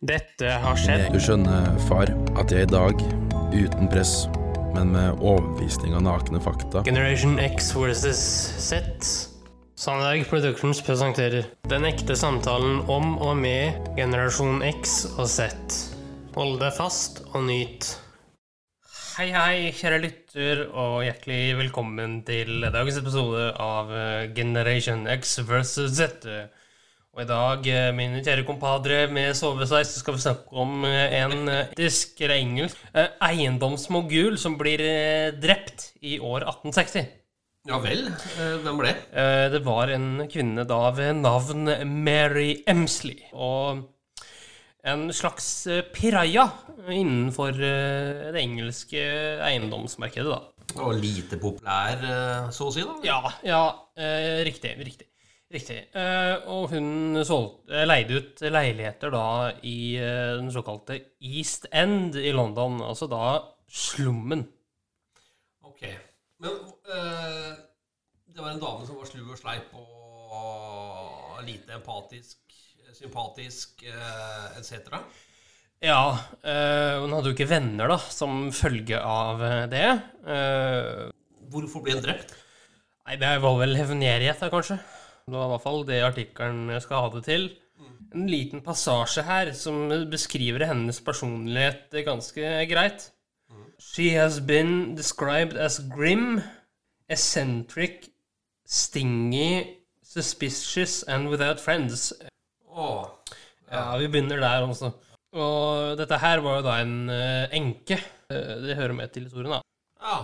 Dette har skjedd. Du skjønner, far, at jeg i dag, uten press, men med overbevisning av nakne fakta Generation X versus Z. Sandberg Productions presenterer Den ekte samtalen om og med generasjon X og Z. Hold deg fast og nyt. Hei, hei, kjære lytter, og hjertelig velkommen til dagens episode av eh, Generation X versus Z. Og i dag, eh, mine kjære kompadre med sovesveis, så skal vi snakke om eh, en eh, etisk eller engelsk eh, eiendomsmogul som blir eh, drept i år 1860. Ja vel, eh, hvem var det? Eh, Det var en kvinne da ved navn Mary Emsley. Og en slags eh, piraja innenfor eh, det engelske eiendomsmarkedet, da. Og lite populær, eh, så å si, da? Ja, ja, eh, riktig. Riktig. riktig. Eh, Og hun solgte, eh, leide ut leiligheter da i eh, den såkalte East End i London. Altså da slummen. Ok. Men eh, det var en dame som var slu og sleip og lite empatisk, sympatisk eh, etc. Ja, eh, hun hadde jo ikke venner, da, som følge av eh, det. Eh, Hvorfor ble hun drept? Nei, det var vel hevngjerrighet, da, kanskje. Det var i hvert fall det artikkelen skal ha det til. En liten passasje her som beskriver hennes personlighet ganske greit. She has been described as grim, eccentric, stingy, suspicious and without friends. Åh, Ja, vi begynner der også. Og dette her var jo da en eh, enke. Eh, Det hører med til historien, da. ja.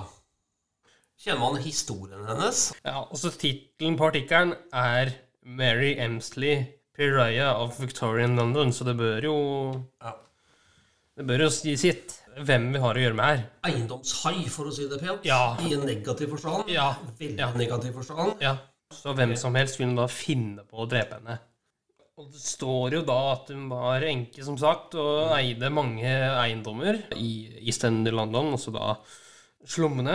Kjenner man historien hennes? Ja, også tittelen på artikkelen er Mary Emsley, Pariah of Victorian London, så det bør jo Ja. Det bør jo si sitt hvem vi har å gjøre med her. Eiendomshai, for å si det pent. Ja. I en negativ forstand. Ja. Veldig Ja. negativ forstand. Ja. Så hvem som helst kunne da finne på å drepe henne. Og det står jo da at hun var enke, som sagt, og eide mange eiendommer i East End i London, også da slummene.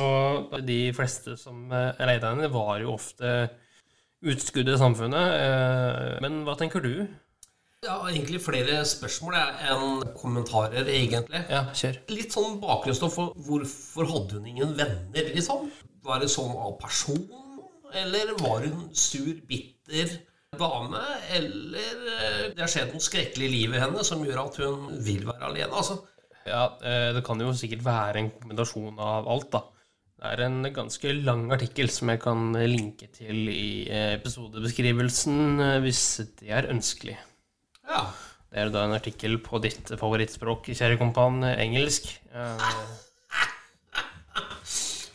Og de fleste som eh, leide henne, var jo ofte utskudd i samfunnet. eh, Men hva tenker du? Ja, egentlig flere spørsmål jeg, enn kommentarer, egentlig. Ja, kjør. Litt sånn bakgrunnsstoff for hvorfor hadde hun ingen venner, liksom? Var det sånn av person? Eller var hun sur, bitter dame? Eller eh, det har skjedd noe skrekkelig i livet hennes som gjør at hun vil være alene? Altså, Ja, eh, det kan jo sikkert være en kombinasjon av alt, da. Det er en ganske lang artikkel som jeg kan eh, linke til i eh, episodebeskrivelsen, eh, hvis det er ønskelig. ja. Det er da en artikkel på ditt favorittspråk, kjære kompan, eh, engelsk. Eh,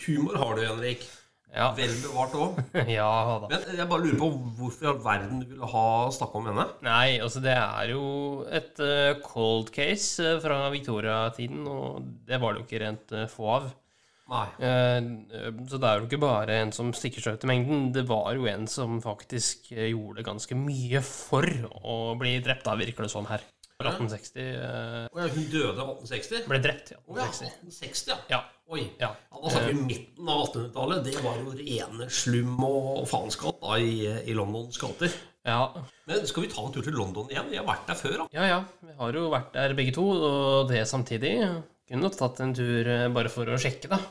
Humor har du, Henrik. Ja, Vel bevart òg. ja da. Men jeg bare lurer på hvorfor i all verden du ville ha snakka om henne? Nei, altså det er jo et eh, cold case eh, fra Victoria-tiden, og det var det jo ikke rent eh, få av. Nei. Eh, Så det er jo ikke bare en som stikker seg ut i mengden. Det var jo en som faktisk eh, gjorde ganske mye for å bli drept, da virker det sånn her. 1860 eh, Å ja, hun døde i 1860? ble drept, ja. Å ja, 1860. 1860, ja. Ja. Oi. Ja. Ja, da snakker vi midten av 1800-tallet. Det var jo rene slum og faenskap da i, i Londons gater. ja. Men skal vi ta en tur til London igjen? Vi har vært der før. da. Ja ja, vi har jo vært der begge to, og det samtidig. Kunne tatt en tur eh, bare for å sjekke, da.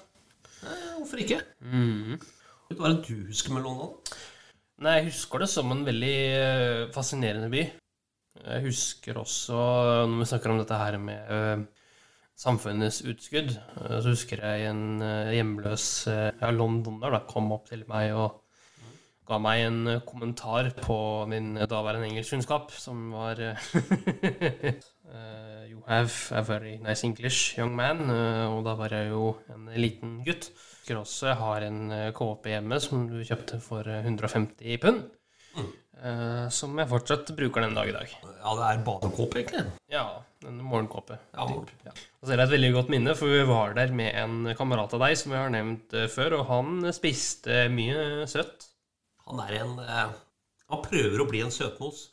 Eh, Hvorfor ikke? Vet du hva du husker med London? Nei, jeg husker det som en veldig eh, fascinerende by. Jeg husker også, eh, når vi snakker om dette her med eh, samfunnets utskudd, eh, så husker jeg en eh, hjemløs eh, ja, londoner da, kom opp til meg og ga meg en eh, kommentar på min eh, daværende engelskkunnskap, som var eh, eh, You have a very nice English, young man. eh, Og da var jeg jo en liten gutt. Jeg husker også jeg har en eh, kåpe hjemme som du kjøpte for eh, 150 pund. Mm. eh, Som jeg fortsatt bruker den dag i dag. Ja, det er badekåpe, egentlig. Ja, en morgenkåpe. Ja, Ja. Og så er det et veldig godt minne, for vi var der med en kamerat av deg som jeg har nevnt eh, før, og han spiste mye søtt. Han er en eh, Han prøver å bli en søtmos.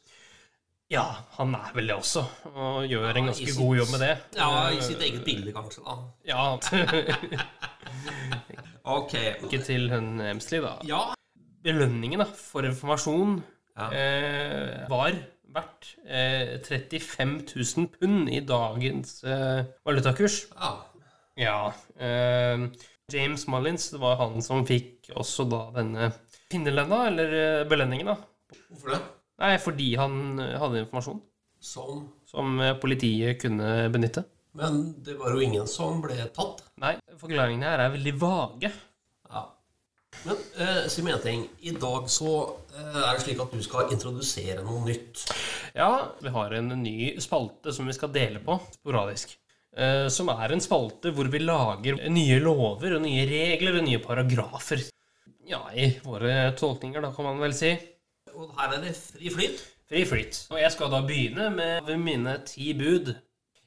Ja, han er vel det også, og gjør en Ja, i ganske sitt- god jobb med det. Eh, Ja, i sitt eget bilde, kanskje. da. Ja, Ok. Ikke til hun Emsley, da. Ja. Belønningen da, for informasjon Ja. eh, var verdt eh, 35 000 pund i dagens eh, valutakurs. Ja. Ja. Eh, James Mullins, det var han som fikk også da denne finnerlønna, eller eh, belønningen, da. Hvorfor det? Nei, fordi han eh, hadde informasjon Sånn. som eh, politiet kunne benytte. Men det var jo ingen som ble tatt. Nei, forklaringene her er veldig vage. Ja. Men eh, si meg en ting. I dag så eh, er det slik at du skal introdusere noe nytt. Ja, vi har en ny spalte som vi skal dele på sporadisk. Eh, som er en spalte hvor vi lager nye lover og nye regler og nye paragrafer. Ja, i våre tolkninger, da, kan man vel si. Og her er det fri flyt. Fri flyt. Og jeg skal da begynne med mine ti bud.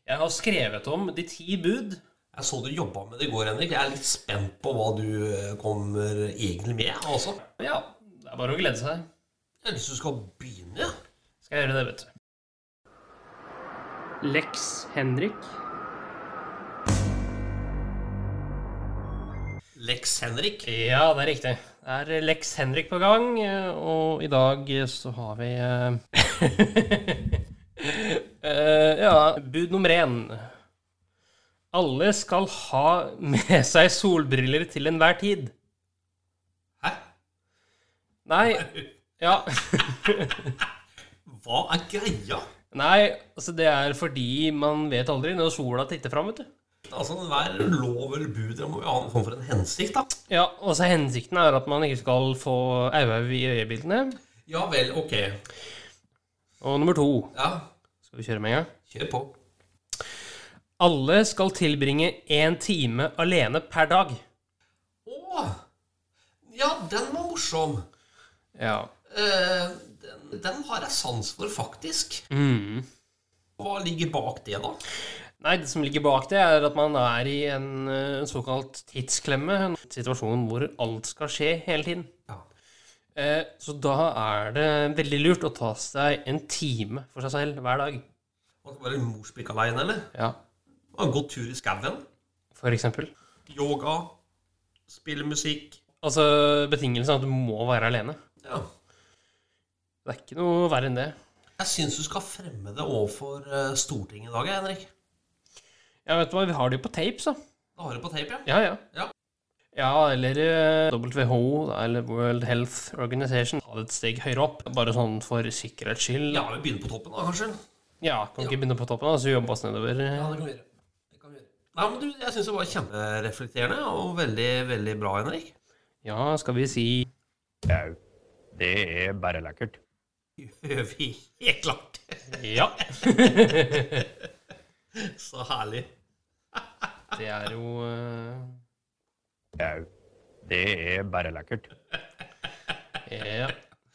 Jeg har skrevet om de ti bud. Jeg så du jobba med det i går, Henrik. Jeg er litt spent på hva du eh, kommer egentlig med. Altså. Ja, det er bare å glede seg. Jeg har lyst til du skal begynne. ja. Skal jeg gjøre det, vet du. Lex Henrik. Lex Henrik. Ja, det er riktig. Det er eh, Lex Henrik på gang, eh, og i dag eh, så har vi eh, eh, Ja, bud nummer én. Alle skal ha med seg solbriller til enhver tid. Hæ? Nei Ja. Hva er greia? Nei, altså det er fordi man vet aldri når sola titter fram, vet du. Altså, Hver lov eller bud det må jo ha en form for en hensikt, da. Ja, og så hensikten er at man ikke skal få auhaug i øyebildene. Ja vel, ok. Og nummer to Ja, Skal vi kjøre med en gang? kjør på. Alle skal tilbringe én time alene per dag. Å! Ja, den var morsom. Ja. Eh, den, den har jeg sans for, faktisk. Mm. Hva ligger bak det, da? Nei, det som ligger bak det, er at man er i en eh, såkalt tidsklemme. En situasjon hvor alt skal skje hele tiden. Ja. Eh, Så da er det veldig lurt å ta seg en time for seg selv hver dag. Man skal være morspikk aleine, eller? Ja, Ha en god tur i skauen? for eksempel. Yoga? Spille musikk? Altså, betingelsen er at du må være alene. Ja. Det er ikke noe verre enn det. Jeg syns du skal fremme det overfor eh, Stortinget i dag, jeg, Henrik. Ja, vet du hva, vi har det jo på tape, så. Da har du på tape, ja. Ja, ja. Ja. Ja, eller eh, WHO, da, eller World Health Organization, ta det et steg høyere opp. Bare sånn for sikkerhets skyld. Ja, vi begynner på toppen, da, kanskje? Ja, kan ikke begynne på toppen, da, så jobbe oss nedover. Ja, det kan vi gjøre. Det kan vi gjøre. Nei, men du, Jeg syns det var kjempereflekterende og veldig, veldig bra, Henrik. Ja, skal vi si Au. Det er bare lekkert. Gjør vi helt klart. Ja. Så herlig. Det er jo eh, Au. Det er bare lekkert. Ja.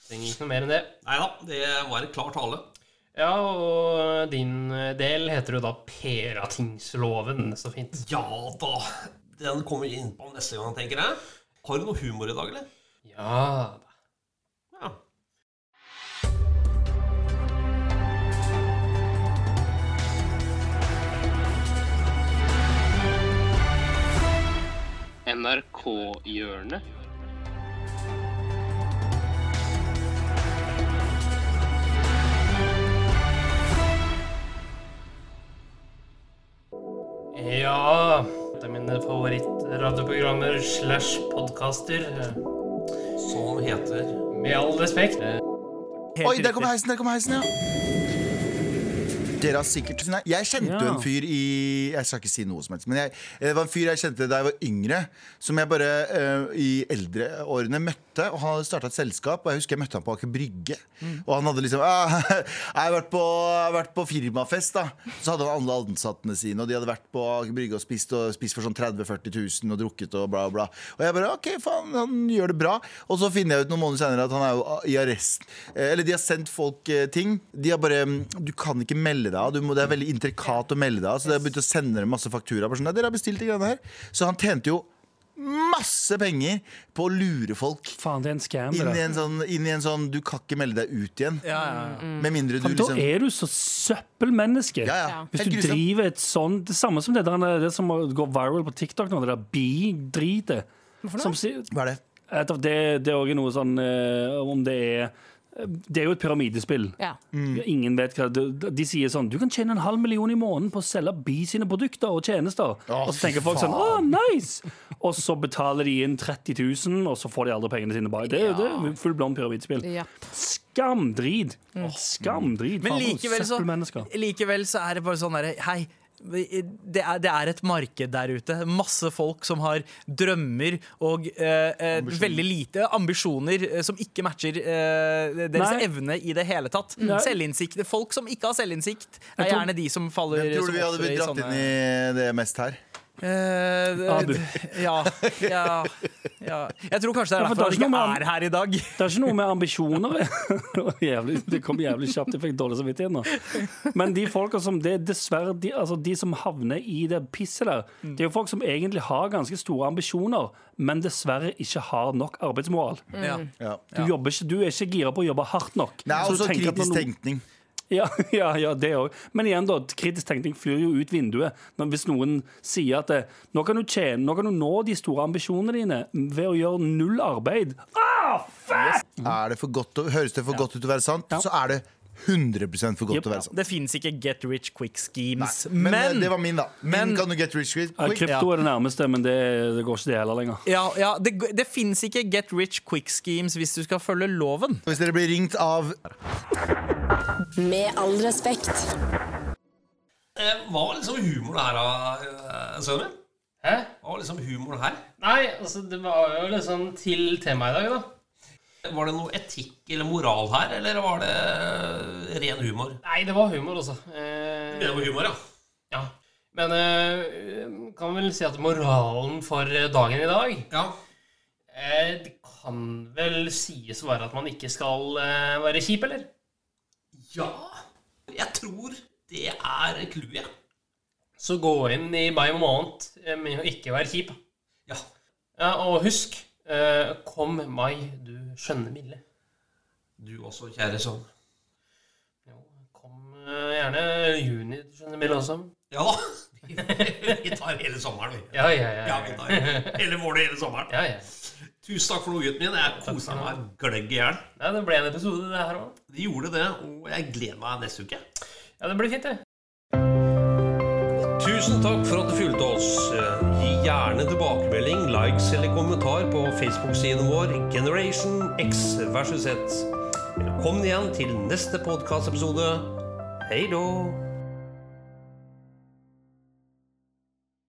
Trenger ikke noe mer enn det. Nei da, det var en klar tale. Ja, og din eh, del heter jo da Peratingsloven. Så fint. Ja da. Den kommer vi inn på neste gang, tenker jeg. Har du noe humor i dag, eller? Ja da. Ja. NRK-hjørnet. Ja Det er mine favorittradioprogrammer slash podkaster. Som heter Med all respekt. Oi, der kommer heisen, der kommer heisen, ja. Dere har sikkert Nei, Jeg kjente jo en fyr i Jeg skal ikke si noe som helst, men jeg, eh, det var en fyr jeg kjente da jeg var yngre, som jeg bare eh, i eldre årene møtte. Og Han hadde starta et selskap, og jeg husker jeg møtte han på Aker Brygge. Og han hadde liksom ah, 'Jeg har vært på, jeg har vært på firmafest', da. Så hadde han alle ansattene sine, og de hadde vært på Aker Brygge og spist, og spist for sånn 30 000-40 000 og drukket og bla, bla. Og jeg bare 'OK, faen, han gjør det bra'. Og så finner jeg ut noen måneder senere at han er jo ah, i arrest. Eh, Eller de har sendt folk eh, ting. De har bare mm, Du kan ikke melde deg av. Du må- Det er veldig intrikat å melde deg av. Så de har begynt å sende dem masse fakturaer. bare sånn, «Nei, Dere har bestilt de greiene her. Så han tjente jo masse penger på å lure folk Faen, det er en scam. inn i det der. en sånn, inn i en sånn Du kan ikke melde deg ut igjen. Ja, ja, ja. Med mindre du Faen, Da liksom er du så søppelmenneske. Ja, ja. Hvis Helt du grusomt. driver et sånt Det samme som det, der, det som går viral på TikTok nå, det der bi-dritet. Som sier- Hva er det? Et av Det, det er også noe sånn eh, Om det er Det er jo et pyramidespill. Ja. Ingen vet hva de, de sier sånn Du kan tjene en halv million i måneden på å selge Bi sine produkter og tjenester. og så tenker folk sånn Å, nice! Og så betaler de inn 30 000, og så får de aldri pengene sine. Bare. Det, er jo- det er jo full blond pyramidespill. Ja. Skamdrit! Skamdrit. Men Faen, likevel så, søppelmennesker. likevel så er det bare sånn derre Hei. Det er, det er et marked der ute. Masse folk som har drømmer og eh, eh, veldig lite ambisjoner eh, som ikke matcher eh, Nei. deres Mm. evne i det hele tatt. Selvinnsikt. Folk som ikke har selvinnsikt, er tror- gjerne de som faller Hvem tror du som vi hadde ofre blitt dratt inn i det mest her? Eh, Abu. Ja, ja, ja. Jeg tror kanskje det er Ja, for da er det derfor han ikke ikke noe med er her i dag. Det er ikke noe med ambisjoner. Det var jævlig, det kom jævlig kjapt. Jeg fikk dårlig samvittighet nå. Men de folka som det er dessverre de, altså de som havner i det pisset der, det er jo folk som egentlig har ganske store ambisjoner, men dessverre ikke har nok arbeidsmoral. Ja. Ja. Mm. Du, jobber ikke, du er ikke gira på å jobbe hardt nok. Nei, Så du også tenker at når kritisk noen- tenkning. ja, ja, ja, det òg. Men igjen, da. Kritisk tenkning flyr jo ut vinduet. Når, hvis noen sier at eh, nå kan, du tjene, nå kan du nå de store ambisjonene dine ved å gjøre null arbeid. Ah, fuck! Er det for godt, å- høres det for godt ut til å være sant, så er det 100 for godt Jep. til å være sant. Det fins ikke get rich quick schemes. Men, men eh, det var min, da. Min men- kan du get rich quick. Ja, krypto er det nærmeste, men det, det går ikke det heller lenger. Ja, ja Det, det fins ikke get rich quick schemes hvis du skal følge loven. Hvis dere blir ringt av Med all respekt. Eh, Hva var liksom humoren her, da, eh, sønnen min? Hæ? Hva var liksom humoren her? Nei, altså, det var jo liksom til temaet i dag, da. Var det noe etikk eller moral her, eller var det ren humor? Nei, det var humor, altså. Eh, Det var humor, ja. ja. Men eh, kan vel si at moralen for dagen i dag ja. eh, Det kan vel sies å være at man ikke skal eh, være kjip, eller? Ja, jeg tror det er clouet. Så gå inn i mai måned eh, med å ikke være kjip. Ja. Ja, og husk eh, Kom mai, du skjønne milde. Du også, kjære sønn. Jo, kom eh, gjerne juni, du skjønne milde også. Ja da. Vi tar hele sommeren, vi. Ja, ja, ja. Ja, vi tar hele våren og hele sommeren. ja, ja. Tusen takk for noe, gutten min. Jeg koser meg gløgg i hjel. Nei, det ble en episode, det her òg. De gjorde det, og jeg gleder meg neste uke. Ja, det blir fint, det. Tusen takk for at du fulgte oss. Eh, Gi gjerne tilbakemelding, likes eller kommentar på Facebook-siden vår Generation X versus Z. Velkommen igjen til neste podkastepisode. Hei då!